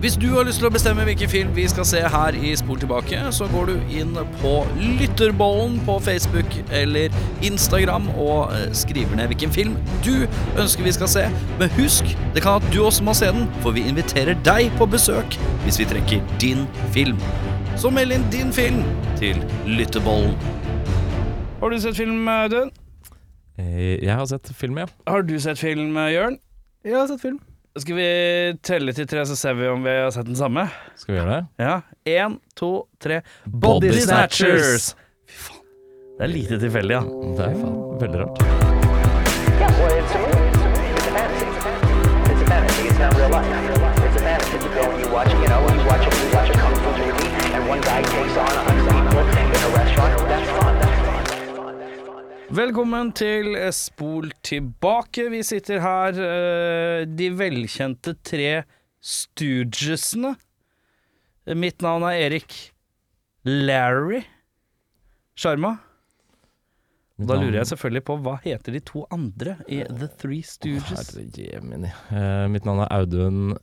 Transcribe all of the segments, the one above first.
Hvis du har lyst til å bestemme hvilken film vi skal se her i Spol tilbake, så går du inn på Lytterbollen på Facebook eller Instagram og eh, skriver ned hvilken film du ønsker vi skal se. Men husk, det kan at du også må se den, for vi inviterer deg på besøk hvis vi trekker din film. Så meld inn din film til Lytterbollen. Har du sett film, Audun? Eh, Jeg har sett film, ja. Har du sett film, eh, Jørn? Jeg har sett film. Skal vi telle til tre, så ser vi om vi har sett den samme? Skal vi gjøre det? Ja. Én, to, tre. Body Snatchers. Fy faen. Det er lite tilfeldig, ja. Det er faen veldig rart. Yeah, well, it's a movie. It's a movie. It's a fantasy. It's a fantasy. It's not real life. It's a fantasy. You go and you watch, you know, you watch a, you watch a kung fu movie, and one guy takes on a hundred people in a restaurant. That's fun. That's fun. That's fun. Velkommen til Spol tilbake. Vi sitter her, eh, de velkjente tre Stoogesene. Mitt navn er Erik Larry Sjarma. Og Da lurer jeg selvfølgelig på hva heter de to andre i The Three Stooges? Herre jemini. Eh, mitt navn er Audun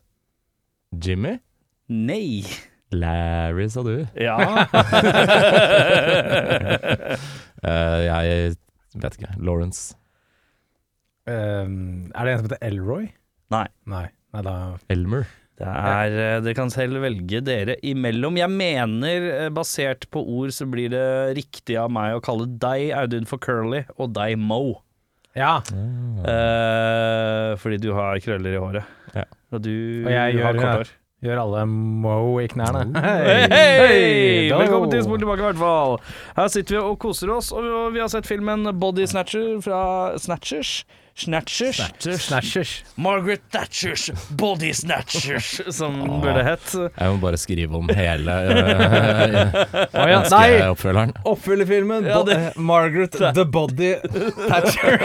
Jimmy. Nei. Larry, sa du. Ja. Eh, jeg vet ikke. Lawrence. Um, er det en som heter Elroy? Nei. Nei, Nei da Elmer. Det er, eh, dere kan selv velge dere imellom. Jeg mener, eh, basert på ord, så blir det riktig av meg å kalle deg Audun for Curly, og deg Mo. Ja, Ah. Eh, fordi du har krøller i håret. Ja. Og du Og jeg har gjør- kort hår. gjør alle mo i knærne. Hei! da. Velkommen til Spol tilbake, i hvert fall. Her sitter vi og koser oss, og vi har sett filmen Body Snatcher fra Snatchers. Snatchers. Snatchers. Margaret Thatchers Body Snatchers, som burde hett. Jeg må bare skrive om hele uh, Å ja, nei! ønskeoppfølgeren. Oppfyller filmen. Ja, Bo- det- eh, Margaret the Body Thatcher.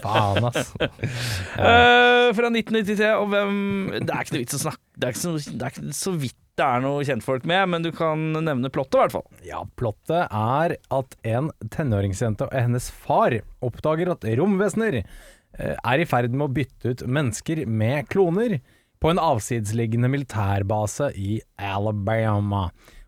Faen, ass. Eh, fra 1993, og hvem Det er ikke noe vits å snakke Det er ikke, så, det er ikke så vidt det er noe kjentfolk med, men du kan nevne plottet, i hvert fall. Ja, plottet er at en tenåringsjente og hennes far oppdager at romvesener eh, er i ferd med å bytte ut mennesker med kloner på en avsidsliggende militærbase i Alabama.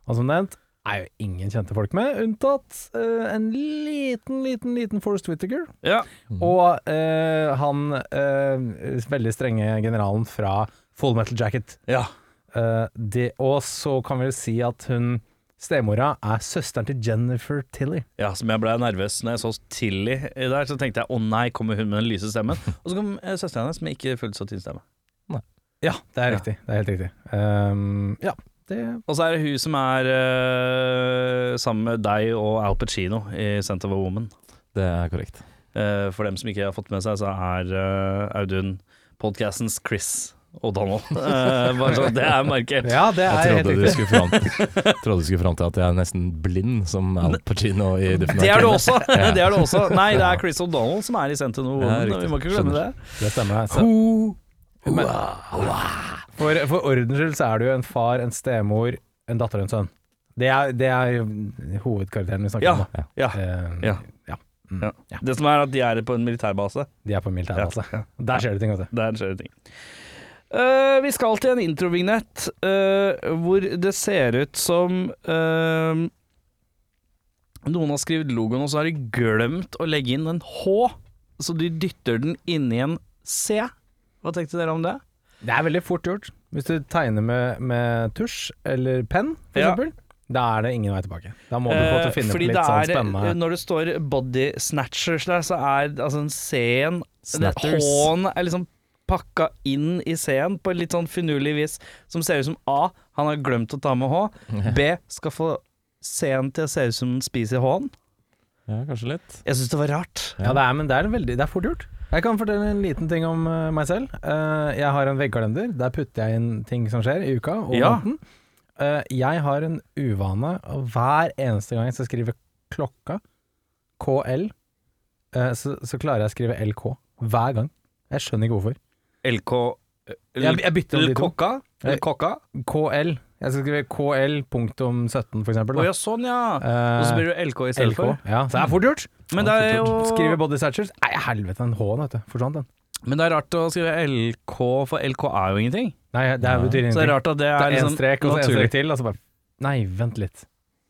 Og som nevnt er jo ingen kjente folk med, unntatt eh, en liten, liten, liten Forrest Whittaker. Ja. Og eh, han eh, veldig strenge generalen fra Full Metal Jacket. ja. Eh, det, og så kan vi jo si at hun Stemora er søsteren til Jennifer Tilly. som jeg ble nervøs når jeg så Tilly i der, så tenkte jeg å nei, kommer hun med den lyse stemmen? Og så kom eh, søsteren hennes med ikke fullt så tynn stemme. Ja, det er riktig. Det er helt riktig. Ehm, ja, det Og så er det hun som er eh, sammen med deg og Al Pacino i Scent of a Woman. Det er korrekt. Eh, for dem som ikke har fått med seg, så er eh, Audun podcastens Chris og Donald. Eh, bare så det er markert. Ja, det er Jeg helt trodde du riktig. skulle fram, trodde du skulle fram til at jeg er nesten blind, som Al Pacino i Different Det er det Arcane. også! Ja. Det er det også. Nei, det er Chris O'Donnell som er i Sentinel Ja, Woman. riktig. Vi må ikke glemme det. Skjønner. Det stemmer. Så, men, for, for ordens skyld så er det jo en far, en stemor, en datter og en sønn. Det er, det er jo hovedkarakteren vi snakker Ja, om. ja, da. Ehm, ja. ja. ja. Det som er at de er på en militærbase. De er på altså, militærbase. Ja, Der skjer det ting, vet du. Der skjer det ting. Eh, vi skal til en introvignett eh, hvor det ser ut som eh, Noen har skrevet logoen, og så har de glemt å legge inn en H, så de dytter den inni en C. Hva tenkte dere om det? Det er veldig fort gjort. Hvis du tegner med, med tusj eller penn, for Ja. eksempel, da er det ingen vei tilbake. Da må du få til å Eh, finne fordi på litt det sånn er, eh, spennende Når det står body snatchers der, så er altså en C-en det- Snatters. H-en er liksom pakka inn i C-en på litt sånn finurlig vis, som ser ut som A. Han har glemt å ta med H. B skal få C-en til å se ut som den spiser H-en. Ja, kanskje litt. Jeg syns det var rart. Ja, det er, men det er, veldig, det er fort gjort. Jeg kan fortelle en liten ting om eh, meg selv. Eh, jeg har en veggkalender. Der putter jeg inn ting som skjer i uka og Ja. måneden. Eh, jeg har en uvane, og hver eneste gang jeg skal skrive klokka, KL, eh, så, så klarer jeg å skrive LK. Hver gang. Jeg skjønner ikke hvorfor. LK eh, Jeg, jeg bytter om de to. Kokka? Eller Kokka? KL. Jeg skal skrive KL.17 for eksempel. Å da. ja, sånn ja. Eh, Og så blir det LK i stedet LK. for. Ja, så det er fort gjort. Men det er Skrive jo body satchers. Nei, helvete, den H-en, vet du. Forsvant den. Men det er rart å skrive LK, for LK er jo ingenting. Nei, det er betyr Så det er ingenting. rart at det Det er, er én liksom strek, og så én naturlig. strek til, og så bare Nei, vent litt.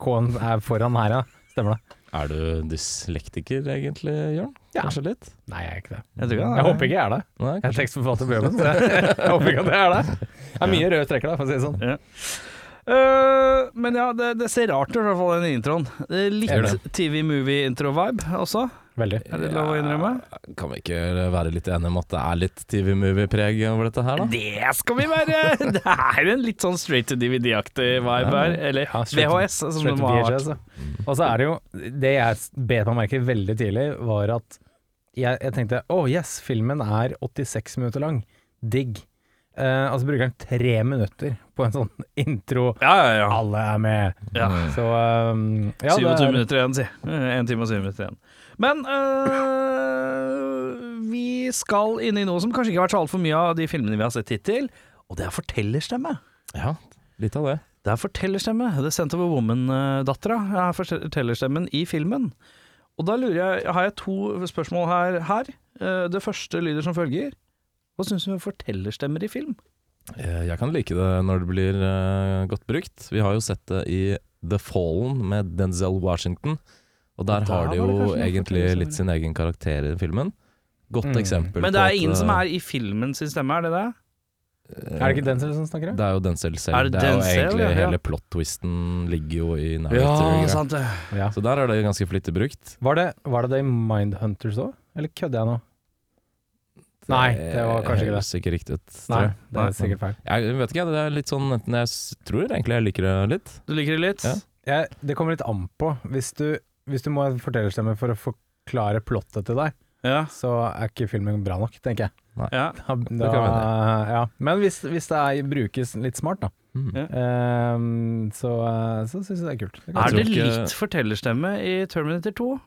K-en er foran her, ja. Stemmer det? Er du dyslektiker egentlig, Jørn? Ja. Kanskje litt? Nei, jeg er ikke det. Jeg tror ikke det er- Jeg håper ikke jeg er det. Nei, Jeg er tekstforfatter på jobben, så jeg, jeg håper ikke at jeg er det. Det er mye røde streker der, for å si det sånn. Eh, men ja, det, det ser rart ut, i hvert fall den introen. Det er Gjør Litt det. TV Movie-intro-vibe også, Veldig. er det lov å innrømme? Kan vi ikke være litt enige om at det er litt TV-movie-preg over dette her, da? Det skal vi være! Det er en litt sånn straight to DVD-aktig vibe her. Eller Ja, straight to- VHS, som det Straight må to ha vært. VHS, ja. Og så er det jo Det jeg bet meg merke veldig tidlig, var at jeg, jeg tenkte oh yes, filmen er 86 minutter lang. Digg. Eh, og så bruker den tre minutter på en sånn intro. Ja, ja, ja. Alle er med. Ja. Så um, ja, det 27 er- minutter igjen, si. Én time og 7 minutter igjen. Men øh, vi skal inn i noe som kanskje ikke har vært så altfor mye av de filmene vi har sett hittil, og det er fortellerstemme. Ja, litt av det. Det er fortellerstemme. The Center of Woman-dattera er fortellerstemmen i filmen. Og da lurer jeg, har jeg to spørsmål her. her. Eh, Det første lyder som følger. Hva syns du om fortellerstemmer i film? Eh, Jeg kan like det når det blir eh, godt brukt. Vi har jo sett det i The Fallen med Denzel Washington. Og der Og der var har de det jo kanskje noen egentlig fortellerstemmer. litt sin egen karakter i den filmen. Godt Mm. eksempel Men det på er at, ingen som eh, er i filmen sin stemme, er det det? Er det ikke Denzel som snakker? Det er jo Denzel selv. Er det, det er Denzel, jo egentlig ja, ja. Hele plot-twisten ligger jo i narrator. sant det. Ja. så der er det ganske flittig brukt. Var det, var det det i Mindhunters òg, eller kødder jeg nå? Nei, det var kanskje ikke det. høres Eh, ikke riktig ut. tror Nei, jeg. det er sikkert feil. Jeg vet ikke, det er litt sånn enten Jeg s- tror egentlig jeg liker det litt. Du liker det litt? Ja. Jeg, det kommer litt an på. Hvis du, hvis du må ha en fortellerstemme for å forklare plottet til deg, Ja. så er ikke filmen bra nok, tenker jeg. ja. Da, da, kan ja. Men hvis, hvis det er, brukes litt smart, da, Mm. Ja. ehm, så, eh, så syns jeg det er kult. Det kan Er tror det ikke- litt fortellerstemme i Terminator 2?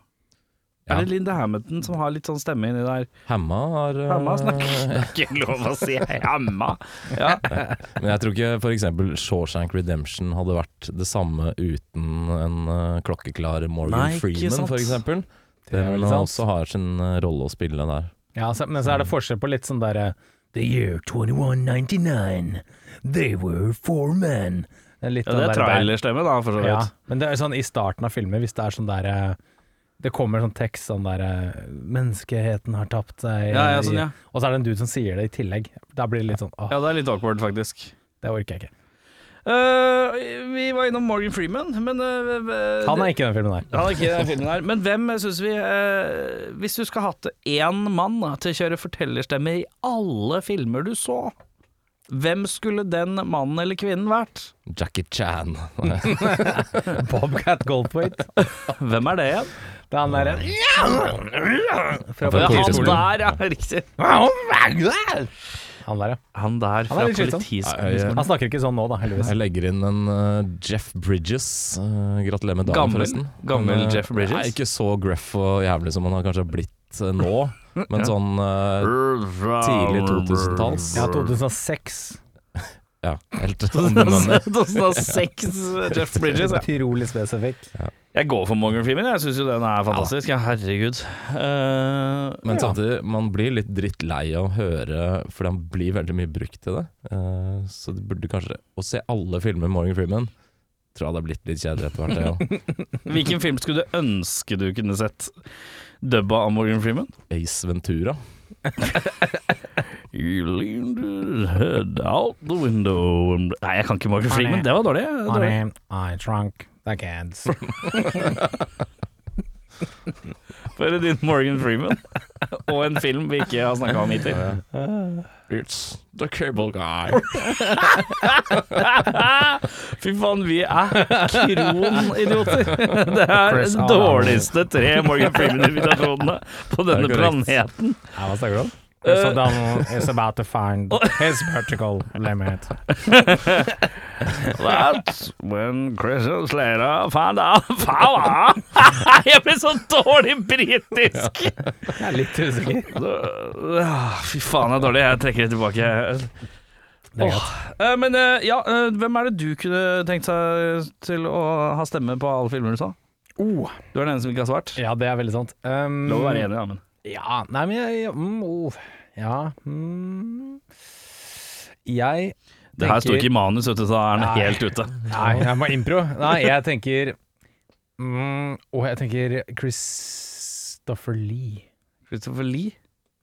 Ja. Er det Linda Hamilton som har litt sånn stemme inni der? Hemma har eh, Hemma snakker Det er ikke lov å si hemma! Ja. Men jeg tror ikke for eksempel Shawshank Redemption hadde vært det samme uten en eh, klokkeklar Morgan Nei, ikke Freeman, sant. for eksempel. Det er Den veldig sant. også har sin eh, rolle å spille der. Ja, så, men så er det forskjell på litt sånn derre The year 2199. They were four men. Litt ja, den det der- er trailerstemme, da, for så Ja, vidt. men det er sånn i starten av filmer, hvis det er sånn der eh, Det kommer sånn tekst sånn der eh, 'Menneskeheten har tapt seg' Ja, ja, sånn, ja. Og så er det en dude som sier det i tillegg. Da blir det litt sånn åh, Ja, det er litt awkward, faktisk. det orker jeg ikke. Eh, vi var innom Morgan Freeman, men eh, Han er ikke i den filmen der. han er ikke i den filmen her. Men hvem syns vi eh, Hvis du skulle hatt én mann da, til å kjøre fortellerstemme i alle filmer du så, hvem skulle den mannen eller kvinnen vært? Jackie Chan. Bobcat Goldthwait. Hvem er det igjen? Det er han eh, derre Fra Det er han Politiskolen. der, ja. Riktig. Han der, ja. Han der fra er litt slitsom. Ja, politiskolen. Han snakker ikke sånn nå, da, heldigvis. Jeg legger inn en eh, Jeff Bridges. Eh, gratulerer med dagen, Gammel- forresten. gammel Men, eh, Jeff Bridges? Nei, ikke så gruff og jævlig som han har kanskje blitt eh, nå, men sånn eh, tidlig 2000-talls. Ja, 2006. Ja, helt omvendt. 2006, Jeff Bridges. Ja. Utrolig spesifikk. Jeg går for Morgan Freeman, jeg syns jo den er fantastisk. Ja, herregud. Eh, Men Ja. samtidig, man blir litt drittlei av å høre, for han blir veldig mye brukt til det. Eh, så det burde kanskje Å se alle filmer med Morgan Freeman tror jeg hadde blitt litt kjedelig etter hvert. det, hvilken film skulle du ønske du kunne sett dubba av Morgan Freeman? Ja. Ace Ventura. You leaned your head out the window and- Nei, jeg kan ikke Morgan Freeman. Det var dårlig. Det var dårlig. Honey, I drunk the kids. Bare din Morgan Freeman og en film vi ikke har snakka om hittil. It's the cable guy. Fy faen, vi er kronidioter. Det er Chris den Allen. dårligste tre Morgan Freeman-invitasjonene på denne Det er korrekt. planeten. Ja, hva snakker du om? Mr. Donald is about to find his vertical limit. That's when Christian Slater found out power. Jeg ble så dårlig britisk! Jeg er litt usikker. Ah, Fy faen, det er dårlig. Jeg trekker det tilbake. Det er Åh. Eh, Men eh, ja, eh, hvem er det du kunne tenkt seg til å ha stemme på alle filmer du sa? Oh. Du er den eneste som ikke har svart. Ja, det er veldig sant. Um, Lov å være enig, ja, men Ja, nei, men jeg mm, oh, Ja. Mm. jeg tenker Det her står ikke i manus, vet du, så da er den helt ute. Nei, jeg må impro. Nei, jeg tenker mm, Og jeg tenker Christopher Lee. Christopher Lee?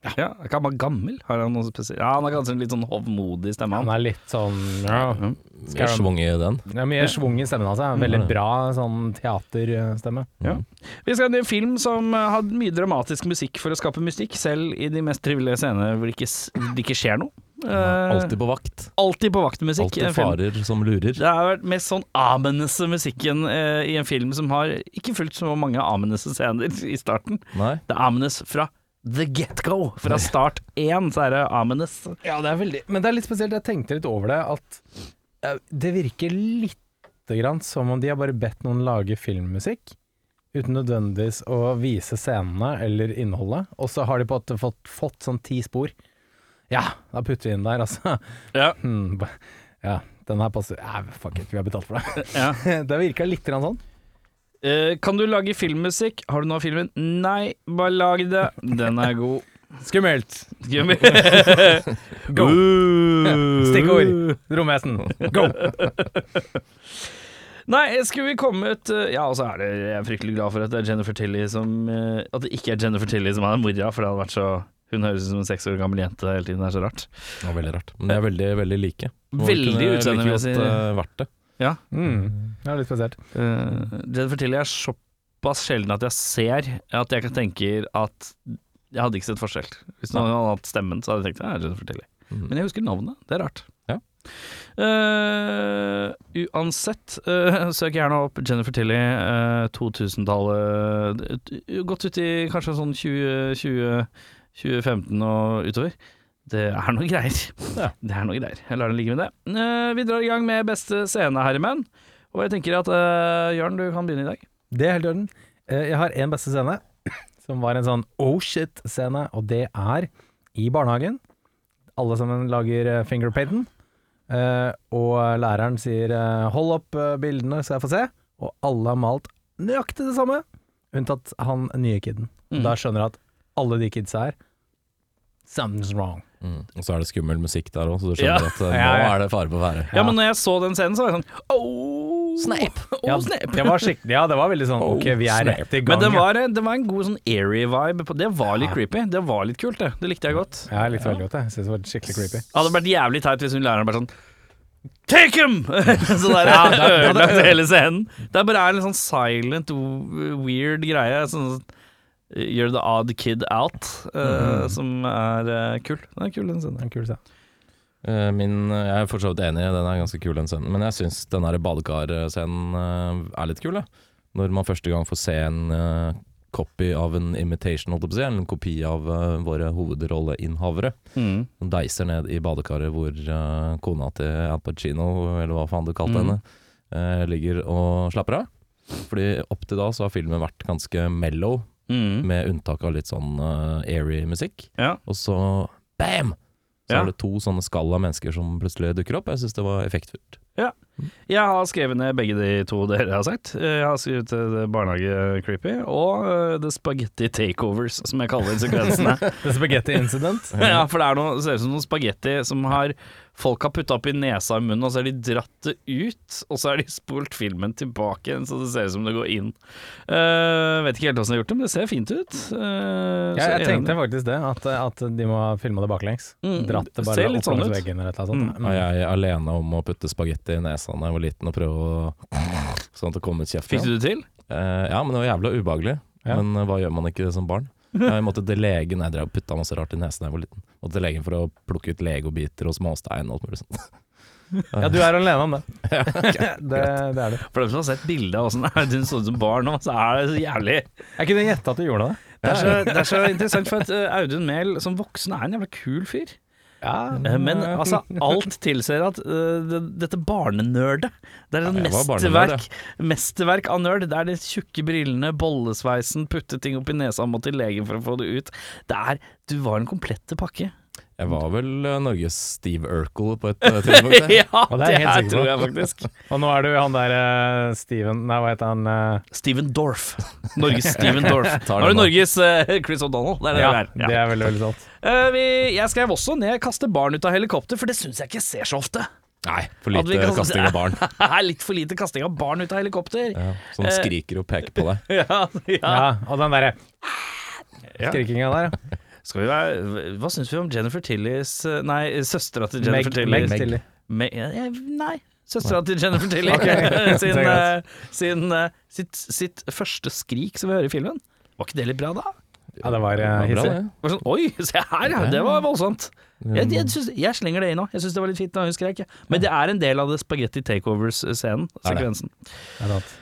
Ja. er ikke han bare gammel? Har han noe spesielt? Ja, han har kanskje en litt sånn hovmodig stemme. Han Han. er litt sånn ja, Mye svung i den. Det er mye schwung i stemmen hans. Altså. Veldig bra sånn teaterstemme. Vi skal til en film som eh, har mye dramatisk musikk for å skape mystikk, selv i de mest trivelige scenene hvor det ikke, s- det ikke skjer noe. Eh, Alltid på vakt. alltid på vaktmusikk. i en Alltid film. farer som lurer. Det har vært mest sånn amenese musikken eh, i en film som har ikke fulgt så mange amenese scener i starten. Nei. Det er amenes fra the get-go. Fra start én så er det amenes. Ja, det er veldig Men det er litt spesielt. Jeg tenkte litt over det, at eh, det virker lite grann som om de har bare bedt noen lage filmmusikk. Uten nødvendigvis å vise scenene eller innholdet. Og så har de på en måte fått, fått sånn ti spor. Ja, da putter vi inn der, altså. Ja. Hmm, ba- ja den her passer Nei, fuck it, vi har betalt for det. Ja. det virka litt grann sånn. Eh, kan du lage filmmusikk? Har du noe av filmen? Nei, bare lag det. Den er god. Skummelt. Skummel. Go. Stikkord. Romvesen. Go. Nei, skulle vi kommet eh, Ja, og så er det Jeg er fryktelig glad for at det er Jennifer Tilly som eh, At det ikke er Jennifer Tilly som er mora, for det hadde vært så Hun høres ut som en seks år gammel jente hele tiden. Det er så rart. Det var veldig rart. Men de er veldig, veldig like. Og Veldig kunne like utseendemessig. godt, eh, vært det. Mm. Det er litt spesielt. Uh, Jennifer Tilly er såpass sjelden at jeg ser at jeg kan tenke at jeg hadde ikke sett forskjell. Hvis noen hadde hatt stemmen, så hadde jeg tenkt ja, Jennifer Tilly. Mm. Men jeg husker navnet. Det er rart. Ja. Eh, uansett, eh, søk gjerne opp Jennifer Tilly, eh, 2000-tallet eh, Godt ut i kanskje sånn 20, 20, 2015 og utover. Det er noe greier. Det er noe greier. Jeg lar det ligge med det. Eh, vi drar i gang med beste scene, herremenn. Og jeg tenker at eh, Jørn, du kan begynne i dag. Det er helt i orden. Eh, Jeg har en beste scene, som var en sånn oh shit-scene, og det er i barnehagen. Alle sammen lager eh, fingerpainten, eh, og læreren sier eh, 'hold opp eh, bildene, så jeg får se', og alle har malt nøyaktig det samme, unntatt han nye kiden. Mhm. Da skjønner jeg at alle de kidsa her Something's wrong. Mm. Og så er det skummel musikk der òg, så du Ja. skjønner at eh, Ja, nå ja. er det fare på ferde. Ja, men når jeg så den scenen, så var jeg sånn Oh, snap! Oh, Ja, snap. Oh, det var skikkelig, ja, det var veldig sånn Ok, vi er snap. rett i gang. Men det var, det var en god sånn airy vibe. på- Det var litt creepy. Det var litt kult, det. Det likte jeg godt. ja. Ja, jeg likte det veldig godt. Jeg synes det var skikkelig creepy. Det hadde vært jævlig teit hvis hun læreren bare sånn Take him! så der ødelagt hele scenen. Det bare er en sånn silent, w- weird greie. Sånn eh, You're the odd kid out, eh, som er eh, kul. Den er kul, den scenen. Det er en kul scene. Eh, Min, jeg er for så vidt enig, den er ganske kul den scenen. Men jeg syns den der badekarscenen eh, er litt kul. Da. Når man første gang får se en eh, copy av en imitation, holdt jeg på å si, eller en kopi av eh, våre hovedrolleinnehavere. Mm. Hun deiser ned i badekaret hvor eh, kona til Al Pacino, eller hva faen du kalte Mm. henne, eh, ligger og slapper av. Fordi opp til da så har filmen vært ganske mellow, Mm. med unntak av litt sånn eh, airy musikk. Ja. Og så bam! Så Ja. er det to sånne skall av mennesker som plutselig dukker opp. Jeg syns det var effektfullt. Jeg har skrevet ned begge de to dere har sagt. Jeg har skrevet eh, det Barnehage Creepy og eh, The Spaghetti Takeovers, som jeg kaller sekvensene. The Spaghetti Incident. ja, for det er noe, det ser ut som noen spagetti som har folk har putta opp i nesa og munnen, og så har de dratt det ut, og så har de spolt filmen tilbake igjen, så det ser ut som det går inn. Eh, vet ikke helt åssen de har gjort det, men det ser fint ut. Eh, Ja, så jeg enig. tenkte faktisk det, at, at de må ha filma det baklengs. Mm, Dratt det ser bare litt opp sånn langs ut. veggen eller et eller annet sånt. Og jeg er alene om å putte spagetti i nesa da jeg var liten og prøve å Sånn at det kom ut kjeft. Fikk du det til? Eh, ja, men det var jævla ubehagelig. Ja. Men eh, hva gjør man ikke som barn? Jeg måtte til legen Jeg drev og putta masse rart i nesen da jeg var liten. Måtte til legen for å plukke ut legobiter og småstein og alt mulig sånt. Ja, du er alene om det. det, det er du. For dem som har sett bildet av åssen det så ut som barn nå, så er det så jævlig Jeg kunne gjette at du gjorde det. Det er så, det er så interessant, for at eh, Audun Mehl som voksen er en jævla kul fyr. Eh, Men altså, alt tilsier at eh, det- dette barnenerdet Det er et Ja, jeg var barnenerd, mesterverk, mesterverk av nerd. Det er de tjukke brillene, bollesveisen, putte ting opp i nesa og må til legen for å få det ut. Det er Du var en komplette pakke. Jeg var vel eh, Norges Steve Urkel på et eh, tidspunkt. jeg. ja, det er jeg helt sikker på. jeg faktisk. Og nå er du han der eh, Steven Nei, hva heter han? eh, Steven Dorff. Norges Steven Dorff. Tar Nå er det den nå. Norges eh, Chris O'Donnell. Det er det ja, det er. det Ja. er veldig, veldig sant. Eh, vi, jeg skrev også ned 'kaste barn ut av helikopter', for det syns jeg ikke ser så ofte. Nei, for At vi lite kan- kasting av barn. Det er litt for lite kasting av barn ut av helikopter. Ja, sånn skriker og peker på deg. Ja, ja. Ja, og den derre Ja. skrikinga der, ja. Skal vi være, hva syns vi om Jennifer Tillys eh, Nei, søstera til Meg, Jennifer Tilly. Meg Tilly. Me- eh, Nei. Søstera til Jennifer Tilly Ok, sin, det er greit. eh, sin, eh, sitt, sitt første skrik som vi hører i filmen. Var ikke det litt bra, da? Ja, det var eh, Det hissig. var bra, det. Det var sånn, Oi, se her, ja, det var voldsomt. Jeg, jeg, syns- jeg slenger det inn nå. Jeg syns det var litt fint da hun skrek. jeg. Men det er en del av det Spaghetti Takeovers-scenen. Er det? Sekvensen. Ja, det var-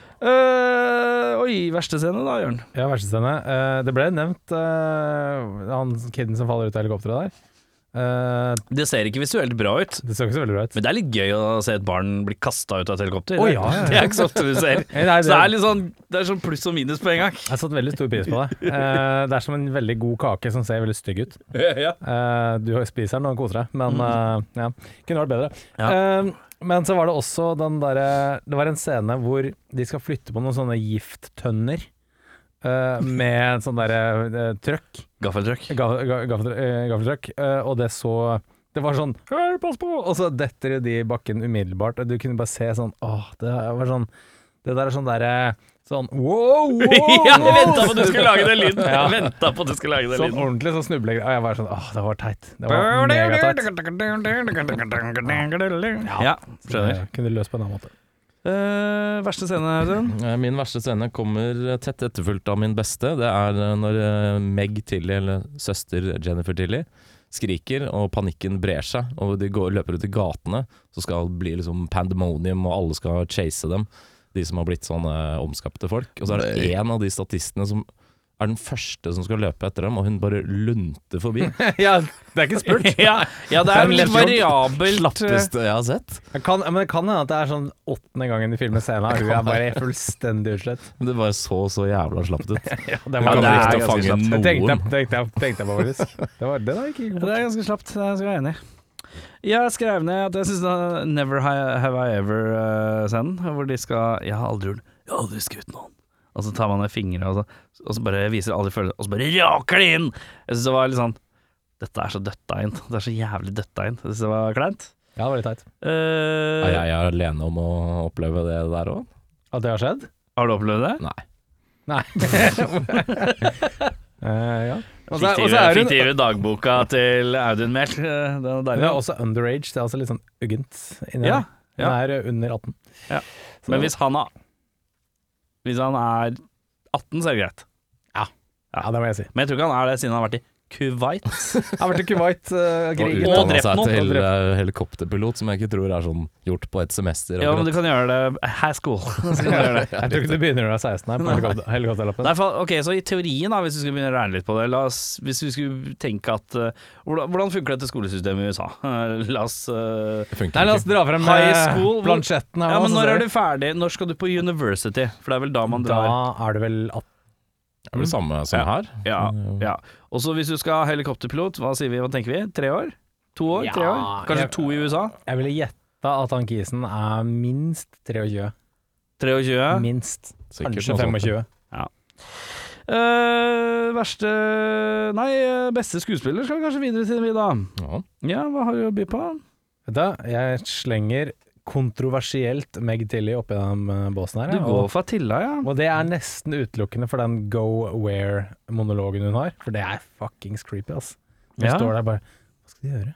Eh, oi, verste scene da, Jørn. Ja, verste scene. Eh, det ble nevnt eh, han kiden som faller ut av helikopteret der. Eh, Det ser ikke visuelt bra ut. det så ikke så veldig bra ut. Men det er litt gøy å se et barn bli kasta ut av et helikopter. Å, ja, ja, ja. Det er ikke så ofte du ser. Eh, nei, Så det er litt sånn, det er sånn pluss og minus på en gang. Jeg har satt veldig stor pris på det. Eh, det er som en veldig god kake som ser veldig stygg ut. Eh, du spiser den og koser deg, men eh, ja, kunne vært bedre. Eh, men så var det også den derre Det var en scene hvor de skal flytte på noen sånne gifttønner. eh, med sånn derre eh, trøkk. Gaffeltrøkk. Ga- ga- gaffel- eh, Gaffeltrøkk. eh, og det så Det var sånn «Hei, Pass på! Og så detter de i bakken umiddelbart. Og du kunne bare se sånn Åh, det var sånn Det der er sånn derre Sånn wow, wow! Ja, jeg venta wow!» på at du skulle lage den lyden! Ja. Jeg venta på at du skulle lage den Sånn lyden. ordentlig så snubler jeg. Og jeg var sånn Åh, det var teit. Det var megateit. Ja, Jeg Kunne løst på en annen måte. Eh, verste scene, Audun? Eh, Min verste scene kommer tett etterfulgt av min beste. Det er eh, når eh, Meg Tilly, eller søster Jennifer Tilly, skriker, og panikken brer seg. Og de går, løper ut i gatene, så skal det bli liksom pandemonium, og alle skal chase dem. De som har blitt sånne eh, omskapte folk. Og så er det én av de statistene som er den første som skal løpe etter dem, og hun bare lunter forbi. ja, det er ikke spurt. Ja, ja det er er litt eh. litt variabelt. Slappeste jeg har sett. Jeg kan, men det kan hende at det er sånn åttende gangen du filmer scenen, og hun er bare fullstendig utslett. Men Det bare så så jævla slapt ut. Det Hun kommer det er ikke til å ganske fange slapt. Det tenkte jeg, noen. tenkte jeg, tenkte jeg på, faktisk. Det var, det var ikke Det er ganske slapt, det skal jeg være enig i. Jeg skrev ned at jeg syns Never Ha- Have I Ever-scenen, hvor de skal Jeg har aldri gjort Jeg har aldri skutt noen. Og så tar man ned fingra, og, så- og så bare viser alle følelser, og så bare raker de inn! Jeg syns det var litt sånn Dette er så døtta inn. Det er så jævlig døtta inn. Jeg syns det var kleint. Ja, det var litt teit. Eh, Er jeg er alene om å oppleve det der òg? At det har skjedd? Har du opplevd det? Nei. Nei. Eh, ja. Og så er- og så Fiktive, er hun fiktive dagboka til Audun Mehl. eh, Den er hun er deilig. også underage, det er altså litt sånn uggent inni Ja, her. Hun ja. er under 18. Ja. Så- Men hvis han er Hvis han er 18, så er det greit. ja, det må jeg si. Men jeg tror ikke han er det siden han har vært i Kuwait. Jeg har vært i Og Kuwait-krigen. Og utdanna drept seg noen. til Og drept. eh, helikopterpilot, som jeg ikke tror er sånn gjort på et semester. Ja, men akkurat. du kan gjøre det high school. Så kan du gjøre det. jeg tror ikke du begynner når du er 16 her på helikopter- helikopterlappen. Nei, for, ok, så i teorien da, hvis vi skulle begynne å regne litt på det la oss, Hvis vi skulle tenke at eh, Hvordan, hvordan funker dette skolesystemet i USA? Eh, la oss eh, Det funker Nei, la oss ikke. dra frem High eh, school, hvor- plansjetten her. Ja, nå, men så når er ser vi. du ferdig? Når skal du på university? For det er vel da man drar Da er du vel 18. Det er det samme som her. Ja, ja. Og så hvis du skal ha helikopterpilot, hva sier vi? Hva tenker vi? Tre år? To år? Tre år? Ja, Kanskje jeg- to i USA? Jeg ville gjetta at han kisen er minst 23. 23? Minst. Sikkert Kanskje noe sånt. 25. Eh, verste Nei, eh, beste skuespiller skal vi kanskje videre til, vi da. Ja. Ja, hva har du å by på? Vet du, jeg slenger kontroversielt Meg Tilly oppi den eh, båsen her. Du jeg, går og, for Attila, ja. og det er nesten utelukkende for den go where-monologen hun har, for det er fuckings creepy, ass. Hun Ja. står der bare Hva skal de gjøre?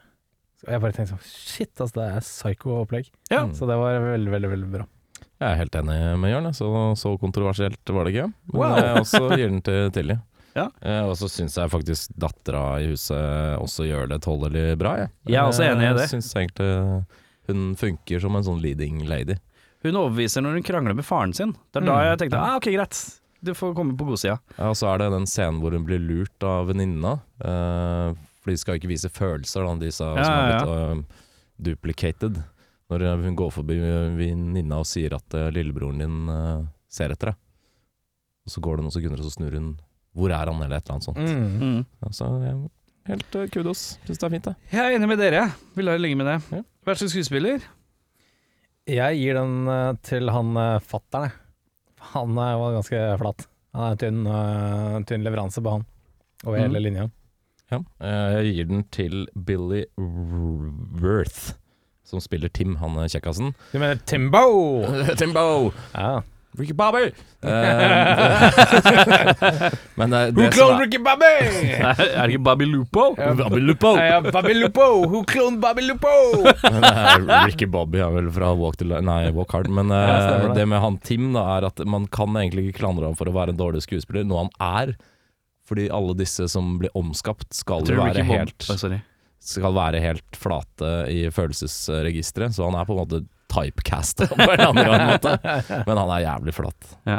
Og jeg bare tenkte sånn Shit, ass, det er psycho-opplegg. Ja. Så det var veldig, veldig, veldig bra. Mm. Jeg er helt enig med Jørn. jeg. Så, så kontroversielt var det ikke. Men Wow. jeg også gir den til Tilly. Ja. Eh, og så syns jeg faktisk dattera i huset også gjør det tålelig bra. Jeg, Eh, Jeg er også enig i det. Jeg syns egentlig hun funker som en sånn leading lady. Hun overbeviser når hun krangler med faren sin. Det er da jeg tenkte ah, ok, greit. Du får komme på godsida. Ja, og så er det den scenen hvor hun blir lurt av venninna. eh, for de skal ikke vise følelser, da, disse Ja, som har ja, blitt eh, duplicated. Når eh, hun går forbi venninna og sier at eh, lillebroren din eh, ser etter deg. Og så går det noen sekunder, og så snur hun 'Hvor er han?' eller et eller annet sånt. Mm. Ja, så jeg Helt eh, kudos. Syns det er fint, det. Jeg er enig med dere. Vi lar det ligge med det. Ja. Verste skuespiller? Jeg gir den eh, til han eh, fatteren, jeg. Han eh, var ganske flat. Han er en tynn, eh, tynn leveranse på han, over Mhm. hele linja. Ja. Eh, Jeg gir den til Billy R- Worth, som spiller Tim, han eh, kjekkasen. Du mener Timbo! Timbo! Ja. Ricky Bobby! Eh, men eh, det som er Ricky Bobby? uh, Er det ikke Bobby Lupo? Bobby Lupo! Bobby Lupo! Who cloned Bobby Lupo? Men, eh, Ricky Bobby er vel fra Walk, to, Li- nei, walk Hard. Men eh, Ja, stemmer det. det. med han Tim da, er at man kan egentlig ikke klandre ham for å være en dårlig skuespiller, noe han er. Fordi alle disse som blir omskapt, skal jo være helt sorry. skal være helt flate i følelsesregisteret, så han er på en måte typecastet på en eller annen måte. Men han er jævlig flat. Ja.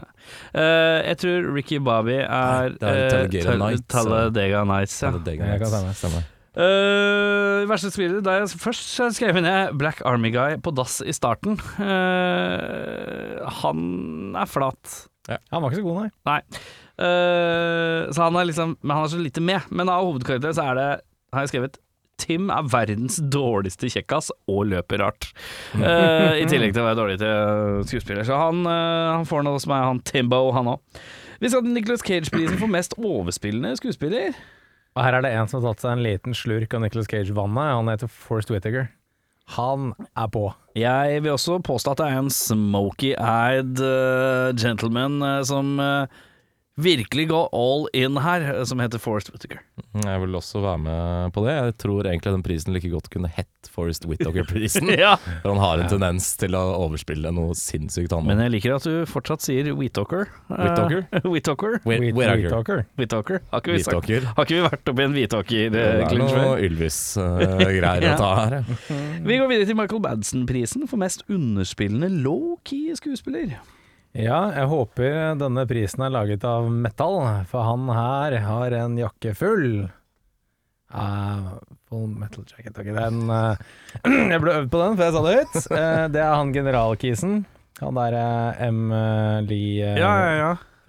Eh, jeg tror Ricky Bobby er, Nei, det er eh, Talladega Tal- Nights, så- Talladega Nights. Ja. Det er det Jeg kan stemme. Stemmer. Eh, verste spiller da jeg Først så skrev jeg ned Black Army Guy på dass i starten. Eh, han er flat. Han var ikke så god, nei. Nei. Eh, så han er liksom Men han er så lite med. Men av hovedkarakteren så er det Har jeg skrevet Tim er verdens dårligste kjekkas og løper rart. Eh, I tillegg til å være dårlig til skuespiller. Så han, eh, han får noe som er han Timbo, han òg. Vi skal til Nicolas Cage-prisen for mest overspillende skuespiller. Og her er det en som har tatt seg en liten slurk av Nicolas Cage-vannet. Han heter Forrest Whittaker. Han er på. Jeg vil også påstå at det er en smoky-eyed eh, gentleman eh, som eh, virkelig går all in her, eh, som heter Forrest Whittaker. Mm, Jeg vil også være med på det. Jeg tror egentlig den prisen like godt kunne hett Forest Whittaker-prisen. For han har en tendens til å overspille noe sinnssykt Men eh, annet. jeg liker at du fortsatt sier Whittaker. Whittaker? Eh, Whittaker. Whi- Whittaker. Whittaker. Whittaker. Har ikke vi, sagt, Whittaker. har ikke vi vært oppi en eh, Eh, Det er Whittaker-klinsj noe før? Ylvis-greier Ja. å ta her. ja. Vi går videre til Michael Badson-prisen for mest underspillende low-key skuespiller. Ja, jeg håper denne prisen er laget av metall, for han her har en jakke full. Uh, full metal jacket, ok. Den, eh, jeg ble øvd på den før jeg sa det høyt. Eh, det er han generalkisen. Han der eh, M. Lee eh, ja.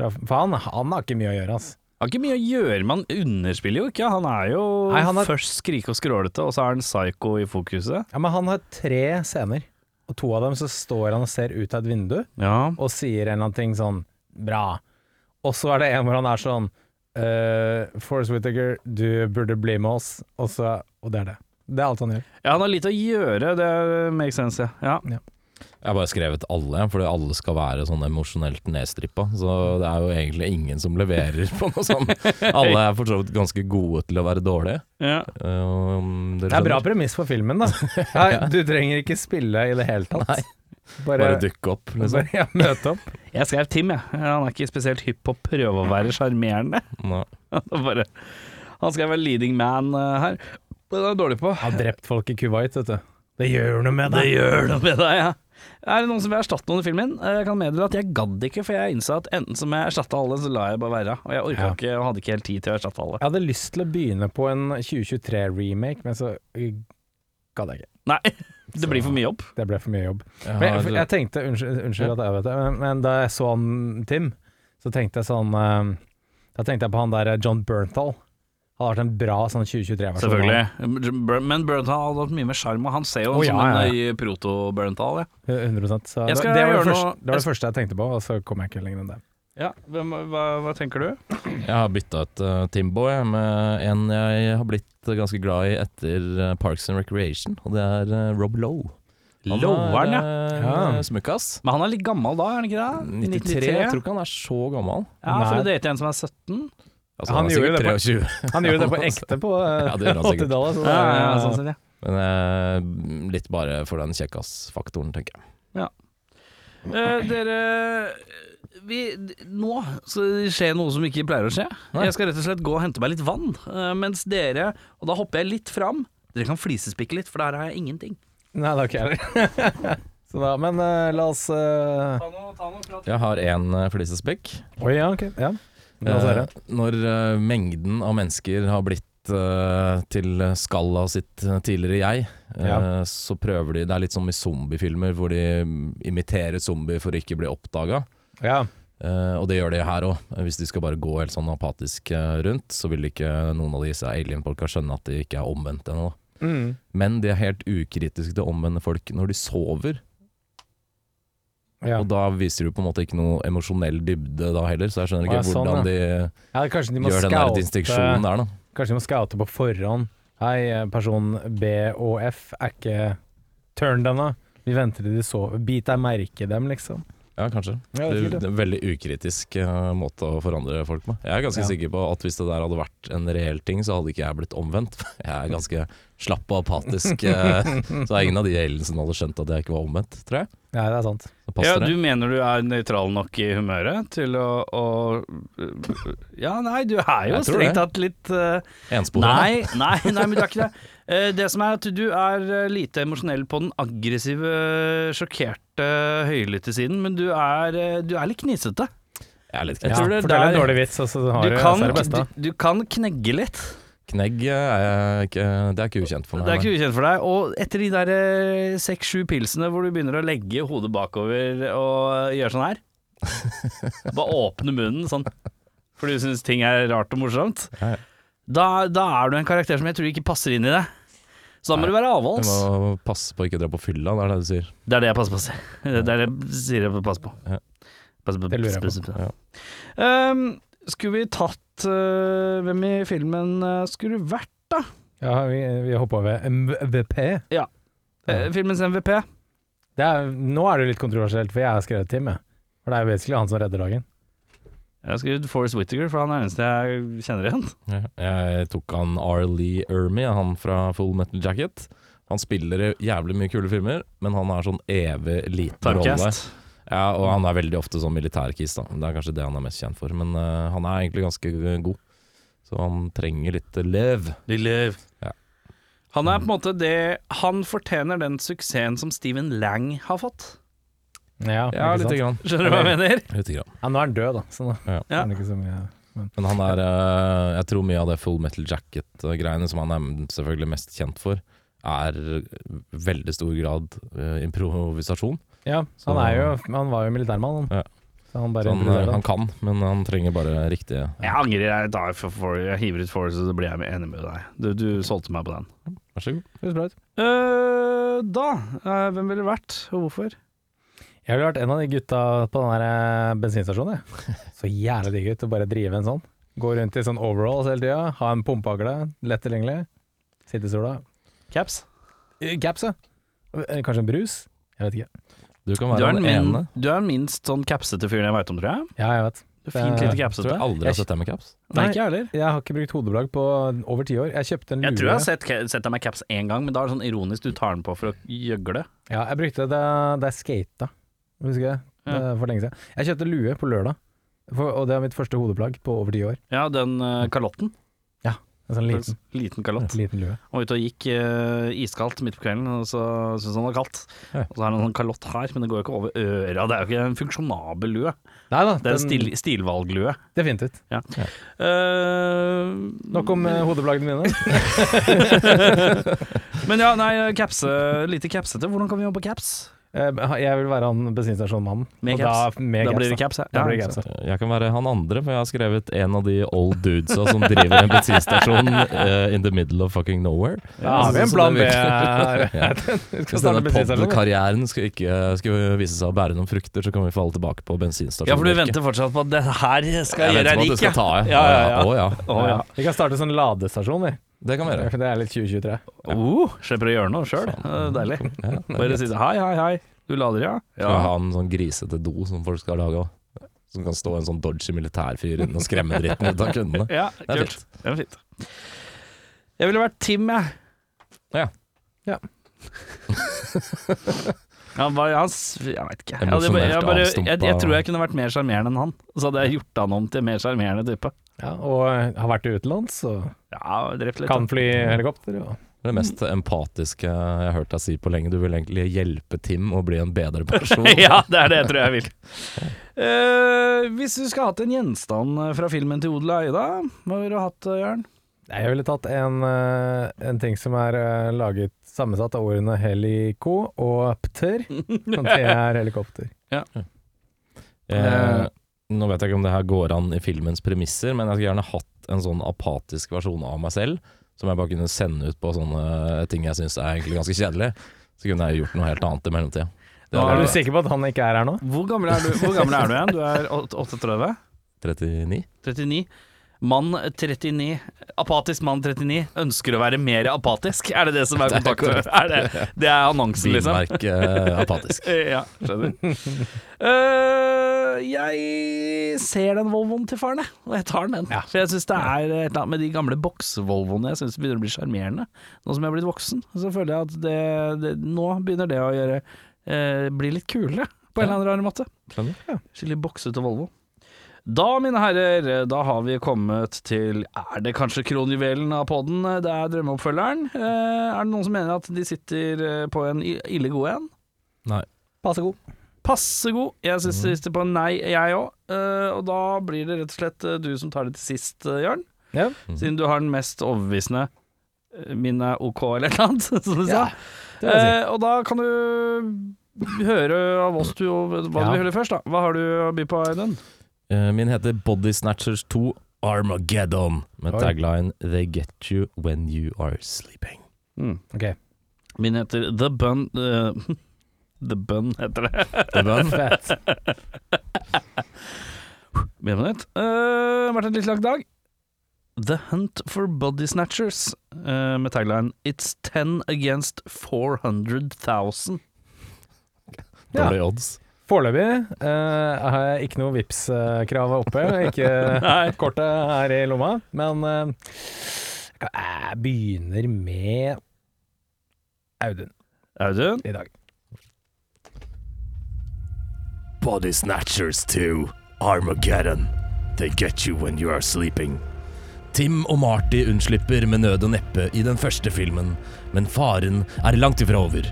fra- For han, han har ikke mye å gjøre, ass. Har ikke mye å gjøre, man underspiller jo ikke. Han er jo Nei, han er- først skrike og skrålete, og så er han psycho i fokuset. Ja, men han har tre scener, og to av dem så står han og ser ut av et vindu. Ja. og sier en eller annen ting sånn Bra. Og så er det en hvor han er sånn uh, Forrest Whittaker, du burde bli med oss. Og, så, og det er det. Det er alt han gjør. han har lite å gjøre, det eh, makes sense, ja. ja. Jeg har bare skrevet alle, fordi alle skal være sånn emosjonelt nedstrippa. Så det er jo egentlig ingen som leverer på noe sånt. Alle er for så vidt ganske gode til å være dårlige. Ja. Um, dere Det er bra skjønner. premiss for filmen, da. Ja, du trenger ikke spille i det hele tatt. Nei. Bare, Bare dukke opp, liksom. bare ja, møte opp. Jeg skrev Tim, jeg. Han er ikke spesielt hypp på å prøve å være sjarmerende. Nei. Han bare- Han skal være leading man eh, her. Det er jeg dårlig på. Har drept folk i Kuwait, vet du. Det gjør noe med Det deg. gjør noe med deg, ja. Er det noen som vil erstatte noen i filmen? Eh, Jeg kan meddele at jeg gadd ikke, for jeg innså at enten som jeg erstatta alle, så la jeg bare være. Og jeg orka Ja. ikke og hadde ikke helt tid til å erstatte alle. Jeg hadde lyst til å begynne på en 2023-remake, men så uh, gadd jeg ikke. Nei, det blir for mye jobb. Det ble for mye jobb. Jeg Men jeg, har- for jeg tenkte, unnskyld, unnskyld at jeg vet det, men, men da jeg så han Tim, så tenkte jeg sånn eh, Da tenkte jeg på han der eh, John Bernthal. Han har vært en bra sånn 2023-versjon. Bur- Men Burnthal hadde hatt mye mer sjarm, og han ser jo Å, som ja, en eh, proto-Burnthal. Ja. 100 Så Jeg det, skal det var gjøre det, noe- første, det var jeg- det første jeg tenkte på, og så kom jeg ikke lenger enn det. Ja, hvem, hva, hva tenker du? Jeg har bytta ut uh, Timbo jeg, med en jeg har blitt uh, ganske glad i etter uh, Parks and Recreation, og det er uh, Rob Lowe. Han er, Loweren, ja. uh, Ja. Smukkas. Men han er litt gammel da, er han ikke det? 93. Jeg tror ikke han er så gammel. Ja, for Nei. å date en som er 17. Altså, Han han, er gjorde sikkert det på- 23. Han gjorde det på ekte på eh, Ja, det gjorde han sikkert. 80-tallet. så det- sånn sett, ja. Men uh, litt bare for den kjekkasfaktoren, tenker jeg. Eh, dere vi, d- Nå så skjer noe som ikke pleier å skje. Nei. Jeg skal rett og slett gå og hente meg litt vann, eh, mens dere Og da hopper jeg litt fram. Dere kan flisespikke litt, for der har jeg ingenting. Nei, det har ikke jeg heller. Så da, men eh, la oss eh, Jeg har én uh, flisespekk. Oi, ja, ok. Ja. La oss høre. Eh, når eh, mengden av mennesker har blitt eh, til skalla sitt eh, tidligere jeg, eh, Ja. så prøver de Det er litt som i zombiefilmer hvor de mm, imiterer zombier for å ikke bli oppdaga. Ja. Eh, og det gjør de her òg. Hvis de skal bare gå helt sånn apatisk eh, rundt, så vil ikke noen av disse alienfolka skjønne at de ikke er omvendt ennå. Mm. Men de er helt ukritiske til å omvende folk når de sover. Ja. Og da viser du på en måte ikke noe emosjonell dybde da heller, så jeg skjønner Å, ja, ikke sånn, hvordan ja, kanskje de de må gjør den der distinksjonen scoute der, da. Kanskje de må scoute på forhånd. Hei, eh, person B og F er ikke turn ennå. Vi venter til de sover. Bit deg merke i dem, liksom. Ja, kanskje. Ja, det er det, er, det er en veldig ukritisk eh, måte å forandre folk med. Jeg er ganske Ja. sikker på at hvis det der hadde vært en reell ting, så hadde ikke jeg blitt omvendt. Jeg er ganske slapp og apatisk, eh, så er ingen av de aliensene som hadde skjønt at jeg ikke var omvendt, tror jeg. Ja, det er sant. Så Ja, passer du det. mener du er nøytral nok i humøret til å, å Ja, nei, du er jo Jeg tror det. strengt tatt litt eh, Ensporet. da. Nei, nei, nei, men du er ikke det. Eh, Det som er at du er eh, lite emosjonell på den aggressive, sjokkerte, høylytte siden, men du er, eh, du er litt knisete. Jeg er litt Jeg knegg. tror Ja, det er fortell en der- dårlig vits, og så har Du du, kan, så er det beste. du, du kan knegge litt. Knegg eh, er jeg ikke, det er ikke ukjent for meg. Det er nei. ikke ukjent for deg. Og etter de der eh, seks-sju pilsene hvor du begynner å legge hodet bakover og gjøre sånn her Bare åpne munnen sånn, for du syns ting er rart og morsomt. Ja, ja. Da, da er du en karakter som jeg tror ikke passer inn i det. Så da må Nei, du være Du avholds. må passe på å ikke dra på fylla, det er det du sier. Det er det jeg passer på. å si. Det er det jeg sier jeg passer på. Ja. Passer på. Det lurer jeg på. passer Ehm, skulle vi tatt eh, Hvem i filmen eh, skulle du vært? Ja, vi, vi hoppa over MVP. Eh, filmens MVP? Det er, nå er det jo litt kontroversielt, for jeg har skrevet Tim, jeg. For det er jo basically han som redder dagen. Jeg har skrevet Forrest Whittaker, for han er den eneste jeg kjenner igjen. Ja. Jeg tok han R. Lee Ermey, han fra Full Metal Jacket. Han spiller i jævlig mye kule filmer, men han har sånn evig liten rolle. Tarmcast. Ja, og han er veldig ofte sånn militærkis, da. Det er kanskje det han er mest kjent for. Men eh, han er egentlig ganske god, så han trenger litt lev. Ja. Han er på en måte det Han fortjener den suksessen som Steven Lang har fått. Ja, Ja, ikke sant? lite grann. Skjønner du hva jeg mener? Lite grann. Ja, nå er han død, da, så nå Ja. er det ikke så mye Men han er eh, Jeg tror mye av det Full Metal Jacket-greiene som han er selvfølgelig mest kjent for, er eh, veldig stor grad eh, improvisasjon. Ja, han er jo Han var jo militærmann, han. Ja. Så han bare Så han, improviserer, eh, han. han kan, men han trenger bare riktige Jeg angrer. Jeg, tar for, for, jeg hiver ut Forrest, og så blir jeg enig med deg. Du, du solgte meg på den. Vær så god. Høres bra ut. Eh, da eh, Hvem ville det vært, og hvorfor? Jeg ville vært en av de gutta på den der eh, bensinstasjonen, jeg. Så jævlig digg ut å bare drive en sånn. Gå rundt i sånn overalls hele tida, ha en pumpehagle, lett tilgjengelig. Sitte i sola. Caps. Eh, Caps, ja. Eh, Kanskje en brus? Jeg vet ikke. Du Du kan er være den den min, ene. du er den minst sånn capsete fyren jeg veit om, tror jeg. Ja, jeg vet. Du er Fint lite Jeg tror capsete. jeg aldri har sett deg med caps. Nei, ikke jeg heller. Jeg har ikke brukt hodeplagg på over ti år. Jeg kjøpte en lue Jeg tror jeg har sett, sett deg med caps én gang, men da er det sånn ironisk du tar den på for å gjøgle. Ja, jeg brukte det da jeg skata, husker jeg. Ja. Det er For lenge siden. Jeg kjøpte lue på lørdag, for, og det er mitt første hodeplagg på over ti år. Ja, den eh, kalotten. En sånn liten, Liten kalott. liten lue. Han var ute og gikk eh, iskaldt midt på kvelden, og så syntes han det var kaldt. Ja. Og så har han en sånn kalott her, men det går jo ikke over øra. Det er jo ikke en funksjonabel lue. Nei da, Det er en stil, stilvalglue. definitivt. Eh, Nok om eh, hodeplaggene mine. Men ja, nei, capse, lite capsete. Hvordan kan vi jobbe på caps? Eh, jeg vil være han bensinstasjonmannen. Med og caps. Da, med Da blir det caps, caps, ja. Da blir det Ja, caps, ja. Jeg kan være han andre, for jeg har skrevet en av de old dudesa som driver en bensinstasjon eh, in the middle of fucking nowhere. Da har vi en Så plan B. det her. virker- Ja. Vi skal Hvis starte denne bensinstasjon. ja. podkarrieren skal, ikke- skal vise seg å bære noen frukter, så kan vi falle tilbake på bensinstasjonen. Ja, for du venter fortsatt på at det her skal jeg gjøre deg venter på at du rik, skal ta av. Ja, ja, ja. Å ja. Å, ja. Ja. Vi kan starte sånn ladestasjon, vi. Det kan vi gjøre. For det er litt 2023. Oh, slipper å gjøre noe sjøl. Deilig. Ja, det er Bare greit. si hei, hei, hei. Du lader, ja? Skal vi ha en sånn grisete do som folk skal lage òg. Som kan stå en sånn dodgy militærfyr inne og skremme dritten ut av kundene. Ja, Det er kult. Det er fint. Jeg ville vært Tim, jeg. Ja. Ja. han var, han, s- jeg veit ikke. Jeg, hadde- jeg, Emosjonelt bare, jeg, avstumpa. jeg, tror jeg kunne vært mer sjarmerende enn han. Så hadde jeg gjort han om til mer sjarmerende type. Ja, og eh, har vært utenlands, og Ja, drept litt. kan fly helikopter. Og Det er det mest empatiske jeg har hørt deg si på lenge. Du vil egentlig hjelpe Tim å bli en bedre person. ja, det er det jeg tror jeg vil. Eh, hvis du skulle hatt en gjenstand eh, fra filmen til Odel og Aida, hva ville du hatt, eh, Jørn? Nei, Jeg ville tatt en, eh, en ting som er eh, laget sammensatt av ordene helico Sånn og pter, som det er helikopter. Eh, Nå vet jeg ikke om det her går an i filmens premisser, men jeg skulle gjerne hatt en sånn apatisk versjon av meg selv, som jeg bare kunne sende ut på sånne eh, ting jeg syns er egentlig ganske kjedelig. Så kunne jeg gjort noe helt annet i mellomtida. Det Nå Er hadde du vært sikker på at han ikke er her nå? Hvor gammel er du, hvor gammel er du igjen? Du er åt- 38? 39. 39? Mann 39, apatisk mann 39, ønsker å være mer apatisk. Er det det som er kontakten? Er det, det er annonsen, liksom? Bilmerk eh, apatisk. Ja, skjønner. Eh, jeg ser den Volvoen til faren, jeg, og jeg tar den. den. For jeg syns det er et eller annet med de gamle boks-Volvoene jeg synes begynner å bli sjarmerende. Nå som jeg er blitt voksen, så føler jeg at det, det Nå begynner det å gjøre eh, bli litt kulere, på en eller annen rar måte. Skjønner. Skikkelig boksete Volvo. Da, mine herrer, da har vi kommet til Er det kanskje kronjuvelen av podden? Det er drømmeoppfølgeren. Eh, er det noen som mener at de sitter eh, på en i- ille god en? Nei. Passe god. Passe god. Jeg syns det sitter på en nei, jeg òg. og da blir det rett og slett eh, du som tar det til sist, eh, Jørn. Ja. Siden du har den mest overbevisende. eh, Min er OK, eller noe annet, som du sa. det vil jeg si. Eh, og da kan du høre av oss to hva du Ja. vil høre først, da. Hva har du å by på, Audun? Eh, Min heter Body Snatchers 2 Armageddon, med Oi. tagline 'They get you when you are sleeping'. Ok. Min heter The Bun eh, The Bun heter det. Det var den. Fett. Med minutt. Eh, det har vært en litt lang dag. The Hunt for Body Snatchers, eh, med tagline It's 10 against 400,000. Ja. Dårlige odds. Foreløpig eh, har jeg ikke noe vips krav oppe. Ikke, Nei. kortet er i lomma, men eh, jeg begynner med Audun Audun? i dag. Body Snatchers 2 Armageddon. They get you when you are sleeping. Tim og Marty unnslipper med nød og neppe i den første filmen, men faren er langt ifra over.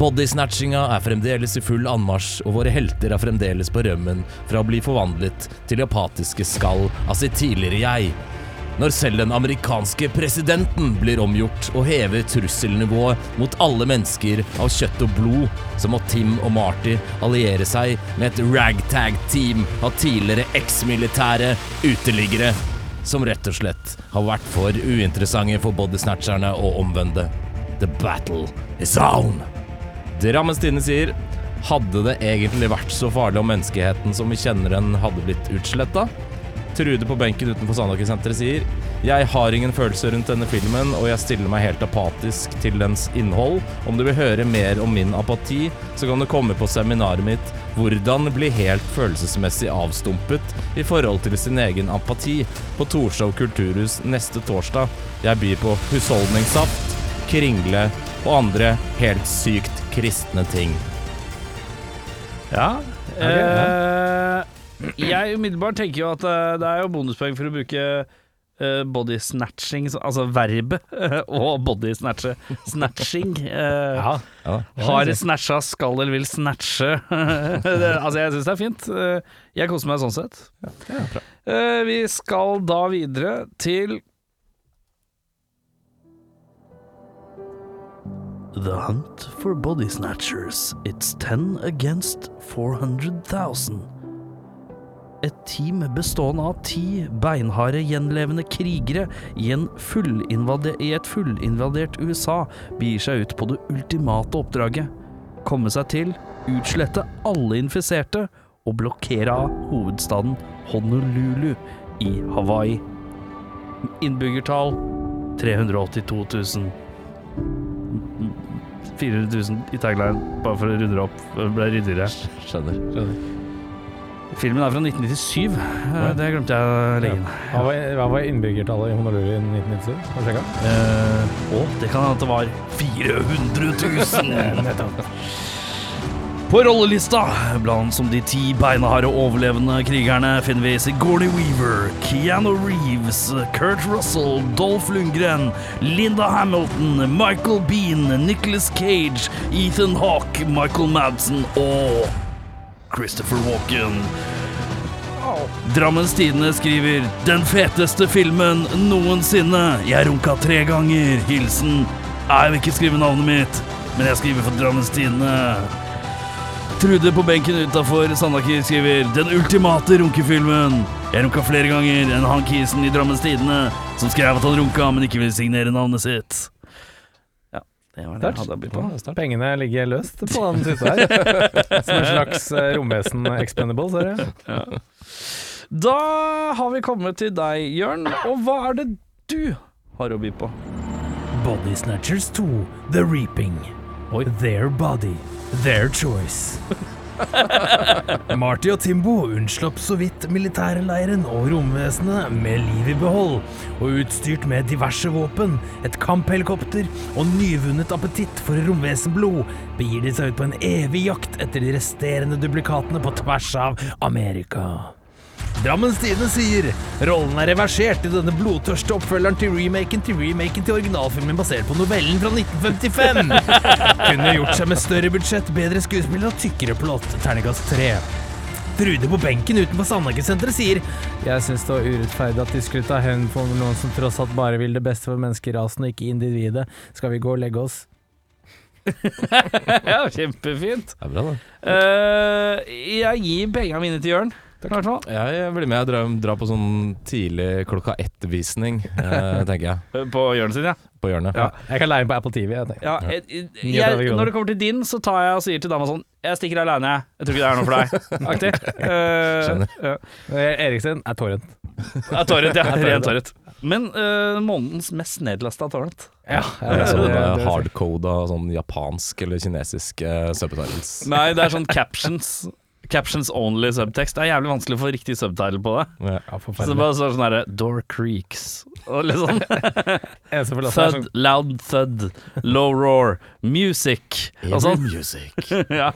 Bodysnatchinga er fremdeles i full anmarsj, og våre helter er fremdeles på rømmen fra å bli forvandlet til apatiske skall av sitt tidligere jeg. Når selv den amerikanske presidenten blir omgjort og hever trusselnivået mot alle mennesker av kjøtt og blod, så må Tim og Marty alliere seg med et ragtag-team av tidligere eksmilitære uteliggere som rett og slett har vært for uinteressante for bodysnatcherne å omvende. The battle is on! Drammens Tidende sier Hadde det egentlig vært så farlig om menneskeheten som vi kjenner den hadde blitt utsletta? Trude på benken utenfor Sandaker-senteret sier Jeg har ingen følelser rundt denne filmen, og jeg stiller meg helt apatisk til dens innhold. Om du vil høre mer om min apati, så kan du komme på seminaret mitt Hvordan bli helt følelsesmessig avstumpet i forhold til sin egen apati på Torshov kulturhus neste torsdag. Jeg byr på husholdningssaft, kringle og andre helt sykt kristne ting. Ja. Eh, jeg umiddelbart tenker jo at eh, det er jo bonuspoeng for å bruke eh, body snatching, så- altså verbet, og body snatche. Snatching. eh, Ja, Har snatcha, skal eller vil snatche. det, altså, jeg syns det er fint. Eh, Jeg koser meg sånn sett. Eh, Vi skal da videre til The hunt for body snatchers. It's 10 against 400,000. Et team bestående av ti beinharde gjenlevende krigere i, en fullinvade- i et fullinvadert USA begir seg ut på det ultimate oppdraget. Komme seg til, utslette alle infiserte og blokkere av hovedstaden Honolulu i Hawaii. Innbyggertall 382 000. 400 000 i tagline, bare for å runde det opp. Det ble ryddigere. Skjønner. Filmen er fra 1997. Eh, Det glemte jeg å legge inn. Hva var, hva var innbyggertallet i Honolulu i 1997? Har du sjekket? Eh, og det kan hende at det var 400 000! På rollelista blant som de ti beinharde overlevende krigerne finner vi Sigourney Weaver, Keanu Reeves, Kurt Russell, Dolph Lundgren, Linda Hamilton, Michael Bean, Nicholas Cage, Ethan Hawke, Michael Madsen og Christopher Walken. Drammens Tidende skriver 'Den feteste filmen noensinne'. Jeg runka tre ganger. Hilsen Nei, Jeg vil ikke skrive navnet mitt, men jeg skriver for Drammens Tidende. Trude på benken utafor Sandaker skriver 'Den ultimate runkefilmen'. Jeg runka flere ganger enn han kisen i Drammens Tidende som skrev at han runka, men ikke ville signere navnet sitt. Ja, det var det jeg Sterkt. hadde å by på. Ja, det er sterkt. Pengene ligger løst på den siste her. Som en slags eh, romvesen expendable, ser du. Da har vi kommet til deg, Jørn, og hva er det du har å by på? Body Snatchers 2 The Reaping. Their body, their choice. Marty og Timbo unnslapp så vidt militærleiren og romvesenet med liv i behold, og utstyrt med diverse våpen, et kamphelikopter og nyvunnet appetitt for romvesenblod, begir de seg ut på en evig jakt etter de resterende duplikatene på tvers av Amerika. Drammens Tidende sier rollen er reversert i denne blodtørste oppfølgeren til remaken til remaken til originalfilmen basert på novellen fra 1955. Kunne gjort seg med større budsjett, bedre skuespillere og tykkere plott. Terningkast tre. Trude på benken utenfor Sandaker-senteret sier Jeg syns det var urettferdig at de skulle ta hevn på noen som tross alt bare vil det beste for menneskerasen og ikke individet. Skal vi gå og legge oss? Ja, kjempefint. Det er bra, det. Eh, jeg gir pengene mine til Jørn. i hvert fall. Jeg blir med. Jeg drar, drar på sånn tidlig klokka ett-visning, eh, tenker jeg. Eh, På Jørn sin, ja. På hjørnet. Ja. Jeg kan leie den på Apple TV. Jeg tenker. ja jeg, jeg, 39 kroner. når det kommer til din, så tar jeg og sier til dama sånn Jeg stikker aleine, jeg. Jeg tror ikke det er noe for deg. Aktig. Eh, Skjønner. ja. Eh, Eriksen er torrent. Ja, torrent, ja. Ren torrent. Men eh, månedens mest nedlasta torrent. Ja, Det er det- sånn det- eh, det- hardcoda sånn japansk eller kinesisk eh, subtitles. Nei, det er sånn captions. Captions only subtekst. Det er jævlig vanskelig å få riktig subtitle på det. Så Ja, det forferdelig. bare står sånn herre Door creaks. Og litt sånn Eneste forlatte thud, er sånn loud thud, low roar, music og sånn. music. ja.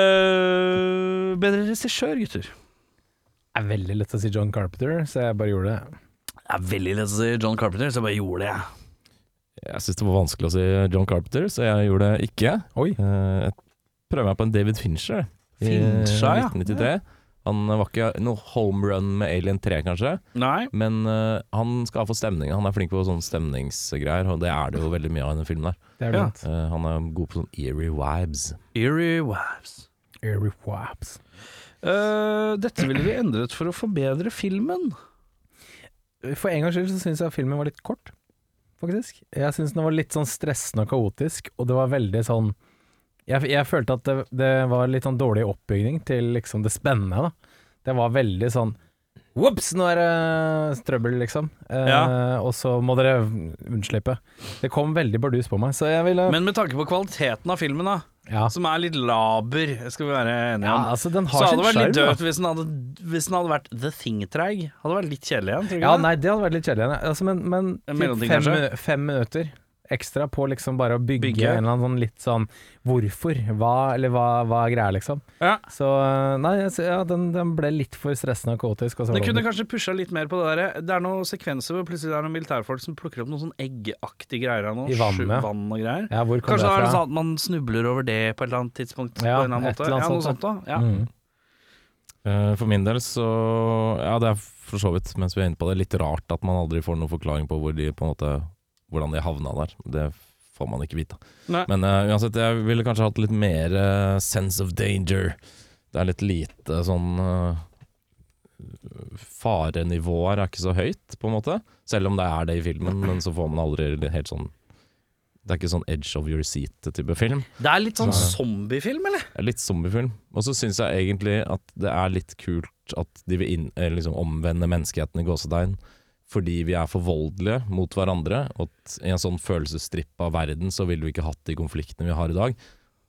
Eh, bedre regissør, gutter. Det er veldig lett å si John Carpenter, så jeg bare gjorde det. Jeg er veldig lett å si John Carpenter, så jeg bare gjorde det. jeg. Jeg syns det var vanskelig å si John Carpenter, så jeg gjorde det ikke. Oi. Eh, Jeg prøver meg på en David Fincher. I Fincher, ja. 1993. Han var ikke noe home run med Alien 3, kanskje, Nei. men eh, han skal ha fått stemninga. Han er flink på sånne stemningsgreier, og det er det jo veldig mye av i den filmen der. Det er Ja. blant Eh, han er god på sånn eerie vibes. Eerie Wives. Eerie Waps. Eh, dette ville vi endret for å forbedre filmen. For en gangs skyld så syns jeg filmen var litt kort, faktisk. Jeg syns den var litt sånn stressende og kaotisk, og det var veldig sånn Jeg, jeg følte at det, det var litt sånn dårlig oppbygning til liksom det spennende, da. Det var veldig sånn Ops, nå er det trøbbel, liksom. Eh, Ja. Og så må dere unnslippe. Det kom veldig bardus på meg, så jeg ville Men med tanke på kvaliteten av filmen, da, ja. som er litt laber, skal vi være enige ja, om. altså, den så har hadde det sin vært litt sjarm. da. døvt hvis, den hadde- hvis den hadde vært The Thing-treig. Hadde vært litt kjedelig igjen, tror du Ja, ikke det? nei, det hadde vært litt kjedelig. nei. Altså, men men En typ mellomting, fem, kanskje? minu- fem minutter ekstra på liksom bare å bygge, Bygge. en eller annen sånn litt sånn hvorfor, hva, eller hva, hva er greia, liksom. Ja. Så nei, jeg sy- ja, den, den ble litt for stressende og kaotisk. Og så var Det kunne den- kanskje pusha litt mer på det der. Det er noen sekvenser hvor plutselig det er noen militærfolk som plukker opp noen sånn eggaktige greier av noe. I sju- vannet, ja. vann og greier. ja, hvor kom Kanskje det er det det fra? sånn at man snubler over det på et eller annet tidspunkt. Ja, på en eller annen et måte. eller annet ja, noe sånt, sånt da. Ja. Mm. Eh, For min del så Ja, det er for så vidt, mens vi er inne på det, litt rart at man aldri får noen forklaring på, hvor de, på en måte, hvordan de havna der. Det får man ikke vite. Nei. Men eh, uansett, jeg ville kanskje hatt litt mer eh, sense of danger. Det er litt lite sånn eh, Farenivået er ikke så høyt, på en måte. Selv om det er det i filmen, men så får man aldri helt sånn Det er ikke sånn edge of your seat-type film. Det er litt sånn Ja. zombiefilm, eller? Det er Litt zombiefilm. Og så syns jeg egentlig at det er litt kult at de vil inn, eh, liksom omvende menneskeheten i gåsetegn. Fordi vi er for voldelige mot hverandre. Og at i en sånn følelsesstrippa verden så ville vi ikke hatt de konfliktene vi har i dag.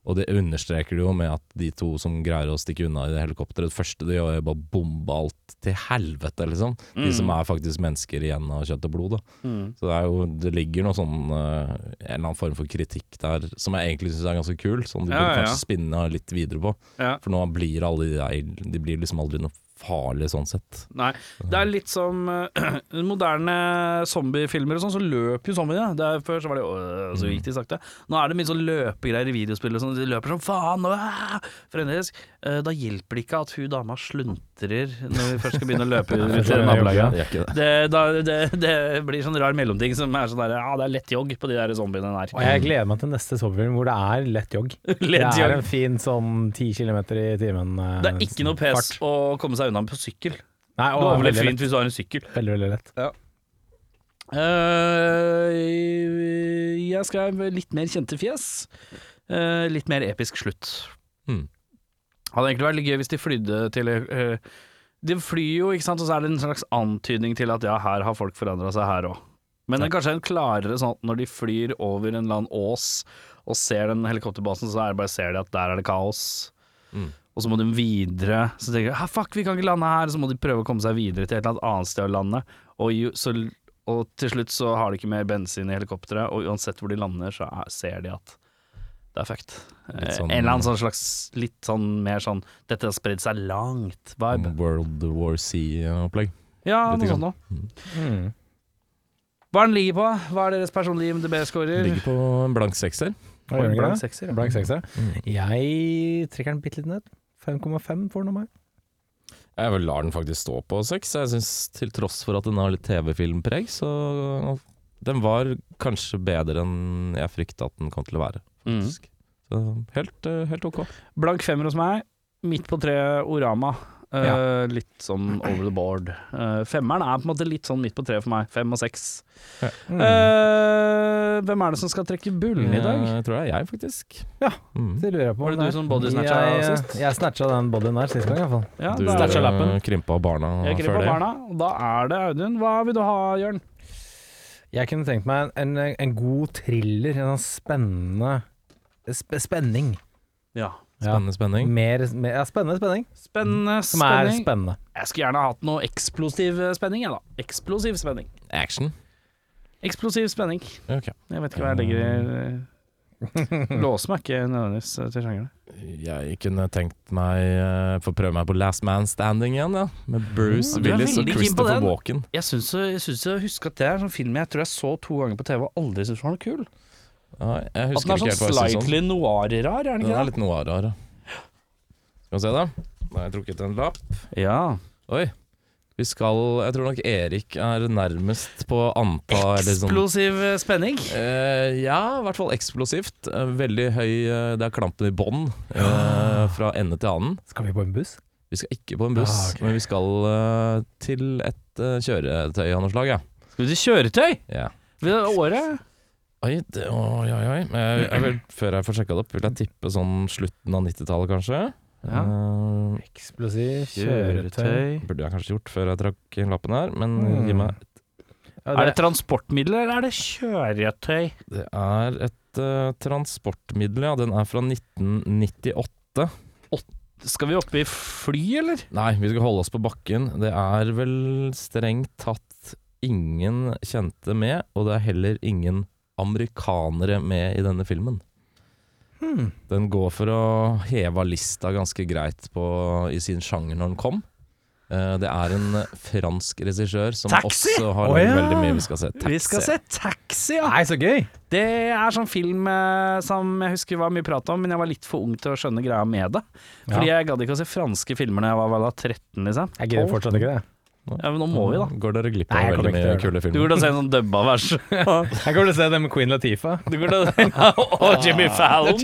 Og det understreker det jo med at de to som greier å stikke unna i det helikopteret, det første de gjør er bare å bombe alt til helvete, liksom. De som er faktisk mennesker igjen av kjøtt og blod, da. Mm. Så det, er jo, det ligger noe sånn eh, En eller annen form for kritikk der som jeg egentlig syns er ganske kul, som de Ja, burde ja, ja. kanskje spinne litt videre på. Ja. For nå blir alle de der De blir liksom aldri noe farlig sånn sett. Nei. Det er litt som eh, moderne zombiefilmer og sånn, så løper jo zombiene. Det er, før så var det øh, så gikk de sakte. Nå er det mye sånn løpegreier i videospill og sånn. De løper som faen. øh, Frenetisk. Eh, Da hjelper det ikke at hun dama sluntrer når vi først skal begynne å løpe ut til nabolaget. Det er ikke det. Det, da, det, det blir sånn rar mellomting som er sånn der Ja, det er lett jogg på de der zombiene der. Og jeg gleder meg til neste sommerfilm hvor det er lett jogg. det Lett er jogg. en fin sånn 10 kilometer i timen. eh, Det er ikke noe pes fart. å komme seg unna på sykkel. Nei, Det og er veldig veldig lett. fint hvis du har en sykkel. Veldig, veldig lett. Eh, jeg skrev litt mer kjente fjes. eh, litt mer episk slutt. Mm. Hadde egentlig vært litt gøy hvis de flydde til eh, De flyr jo, ikke sant, og så er det en slags antydning til at ja, her har folk forandra seg her òg. Men det er kanskje en klarere sånn at når de flyr over en eller annen ås og ser den helikopterbasen, så er det bare ser de at der er det kaos. Mm. Og så må de videre. Så tenker de «Ah, fuck, vi kan ikke lande her. Så må de prøve å komme seg videre til et eller annet annet sted å lande. Og, jo, så, og til slutt så har de ikke mer bensin i helikopteret, og uansett hvor de lander, så er, ser de at det er fucked. Eh, Litt sånn- en eller annen sånn slags litt sånn mer sånn 'dette har spredd seg langt'-vibe. Sånn World War C-opplegg. Ja, Litt noe sånt grann. noe. Mm. Hva er den ligger på? Hva er deres personlige MDB-scorer? Ligger på en blank sekser. Hva gjør den ikke Blank det? sekser, ja. Blank sekser. Mm. Jeg trekker den bitte litt ned. 5,5 får den av meg. Jeg vel lar den faktisk stå på seks. Jeg synes til tross for at den har litt TV-filmpreg, så Den var kanskje bedre enn jeg frykta at den kom til å være, Mm. faktisk. Så helt, eh, helt ok. Blank femmer hos meg. Midt på treet Orama. Eh, Ja. Litt sånn over the board. Eh, femmeren er på en måte litt sånn midt på treet for meg. Fem og seks. Ja. Mm. Eh, hvem er det som skal trekke bullen i dag? Jeg Eh, tror det er jeg, faktisk. Ja. Mm. Det lurer jeg på. Var det om du som bodysnatcha jeg, sist? Jeg snatcha den bodyen der sist gang, iallfall. Ja, Du da er det- eh, krympa barna Jeg før kryper på det. barna. og Da er det Audun. Hva vil du ha, Jørn? Jeg kunne tenkt meg en, en, en god thriller, en sånn spennende sp spenning. Ja. Spennende Mm. spenning. Mer, mer, ja, spennende spenning. Spennende Mm. Som er spenning. spennende. Jeg skulle gjerne hatt noe eksplosiv spenning, jeg, da. Eksplosiv spenning. Action. Eksplosiv spenning. Ok. Jeg vet ikke hva jeg legger i eh, Låser meg ikke nødvendigvis eh, til sjangeren. Jeg kunne tenkt meg eh, få prøve meg på Last Man Standing igjen, ja. Med Bruce Mm, du er Willis og veldig keen på Christopher den. Walken. Jeg syns jeg, synes jeg husker at det er en sånn film jeg tror jeg så to ganger på TV og aldri syntes var noe kul. Ja, jeg At den husker er ikke sånn helt hva jeg synes om den. slightly noir-rar, er den Den ikke er det? litt noir rar. ja. Skal vi se, da. Da har jeg trukket en lapp. Ja. Oi. Vi skal Jeg tror nok Erik er nærmest på antall eller sånn- Eksplosiv eh, spenning. Eh, ja, i hvert fall eksplosivt. Eh, veldig høy eh, Det er klampen i bånn eh, Ah. fra ende til annen. Skal vi på en buss? Vi skal ikke på en buss, Ah, ok. men vi skal eh, til et eh, kjøretøy av noe slag, ja. Skal vi til kjøretøy? ja. Ved året? Oi, det, oi, oi, oi. Jeg, jeg vil, før jeg får sjekka det opp, vil jeg tippe sånn slutten av 90-tallet, kanskje. Ja. Eh, Eksplosiv kjøretøy. burde jeg kanskje gjort før jeg trakk inn lappen her, men Mm. gi meg Ja, Er det transportmiddel, eller er det kjøretøy? Det er et eh, transportmiddel, ja. Den er fra 1998. Skal vi opp i fly, eller? Nei, vi skal holde oss på bakken. Det er vel strengt tatt ingen kjente med, og det er heller ingen amerikanere med i denne filmen. Hmm. Den går for å heve lista ganske greit på, i sin sjanger når den kom. Eh, Det er en fransk regissør som Taxi! også har Å, ja. veldig mye vi skal se. Vi skal se Taxi, ja. Nei, så gøy! Det er sånn film eh, som jeg husker var mye prat om, men jeg var litt for ung til å skjønne greia med det. Fordi jeg gadd ikke å se franske filmer da jeg var, var da 13, liksom. Jeg gidder Tolv. fortsatt ikke det. Ja, men nå må vi, da. Går dere glipp Nei, av jeg kommer veldig ikke mye til kule Du filmer? går til å se en sånn dubba vers. Jeg kommer til å se det med Queen Latifa. Du går til å se Og Jimmy Fallon.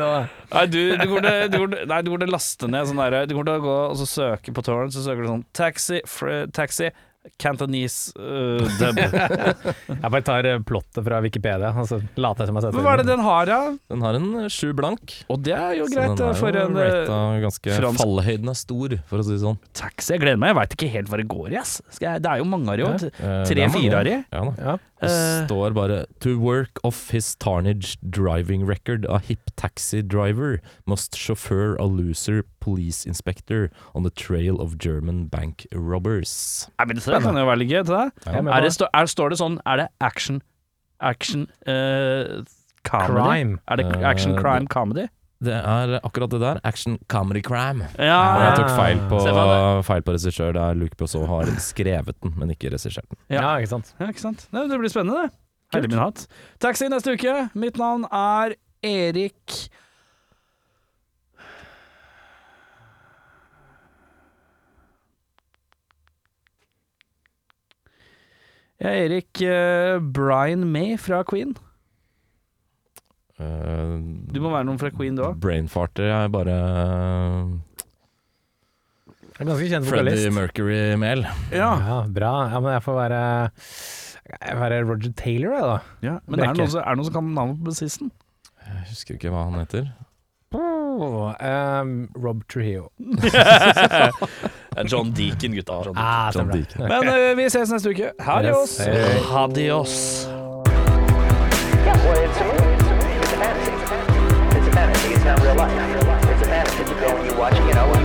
Nei, du, du, går til, du, går til, nei, du går til å laste ned sånn derre Du går til å gå og så søke på torrent, så søker du sånn taxi, fr taxi Cantonese øh, dub. Jeg bare tar eh, plottet fra Wikipedia og så later jeg som jeg har sett Men Hva er det den har, ja? Den har en eh, sju blank. Og det er jo Så greit den eh, er for jo en rata eh, ganske fransk- Fallhøyden er stor, for å si det sånn. taxi. Jeg gleder meg, jeg veit ikke helt hva det går i, ass. Skal jeg, det er jo mange av de òg. Eh, det er mange. Tre-fire av de. Ja da. Ja. Det Eh. står bare 'To work off his tarnage driving record a hip taxi driver must chauffeur a loser police inspector on the trail of German bank robbers'. Nei, men Det kan jo være litt gøy. til deg. Jeg er med på Er det, det. stå- er, står det sånn Er det action Action eh, comedy? Crime. Er det action Eh, crime comedy? Det er akkurat det der. Action comedy cram. Og Ja, jeg tok feil på, Ah. Se for feil på regissør. Det er Luke Bessot har skrevet den, men ikke regissert den. Ja. Ja, ikke sant. ja, ikke sant? Nei, det blir spennende, det. Herlig min hatt. Taxi neste uke. Mitt navn er Erik Jeg er Erik eh, Brian May fra Queen. Eh, Du må være noen fra Queen, du òg. Brainfarter er bare Jeg er ganske eh, kjent vokalist. Freddie Mercury-mel. Ja. Ja, bra. Ja, men jeg får være jeg får være Roger Taylor, jeg, da. ja. Men er det, Brekke. noen som, er det noen som kan navnet på bassisten? Jeg husker ikke hva han heter. Ehm, Rob Trujillo. John Deacon, gutta. Ah, John stemmer det. Deacon. Men eh, vi ses neste uke. Adios. Yes. Hei. Adios. Yeah, well, it's a movie. It's a movie. It's a fantasy. It's a fantasy. It's not real life. It's a fantasy. You go and you watch it, you know, and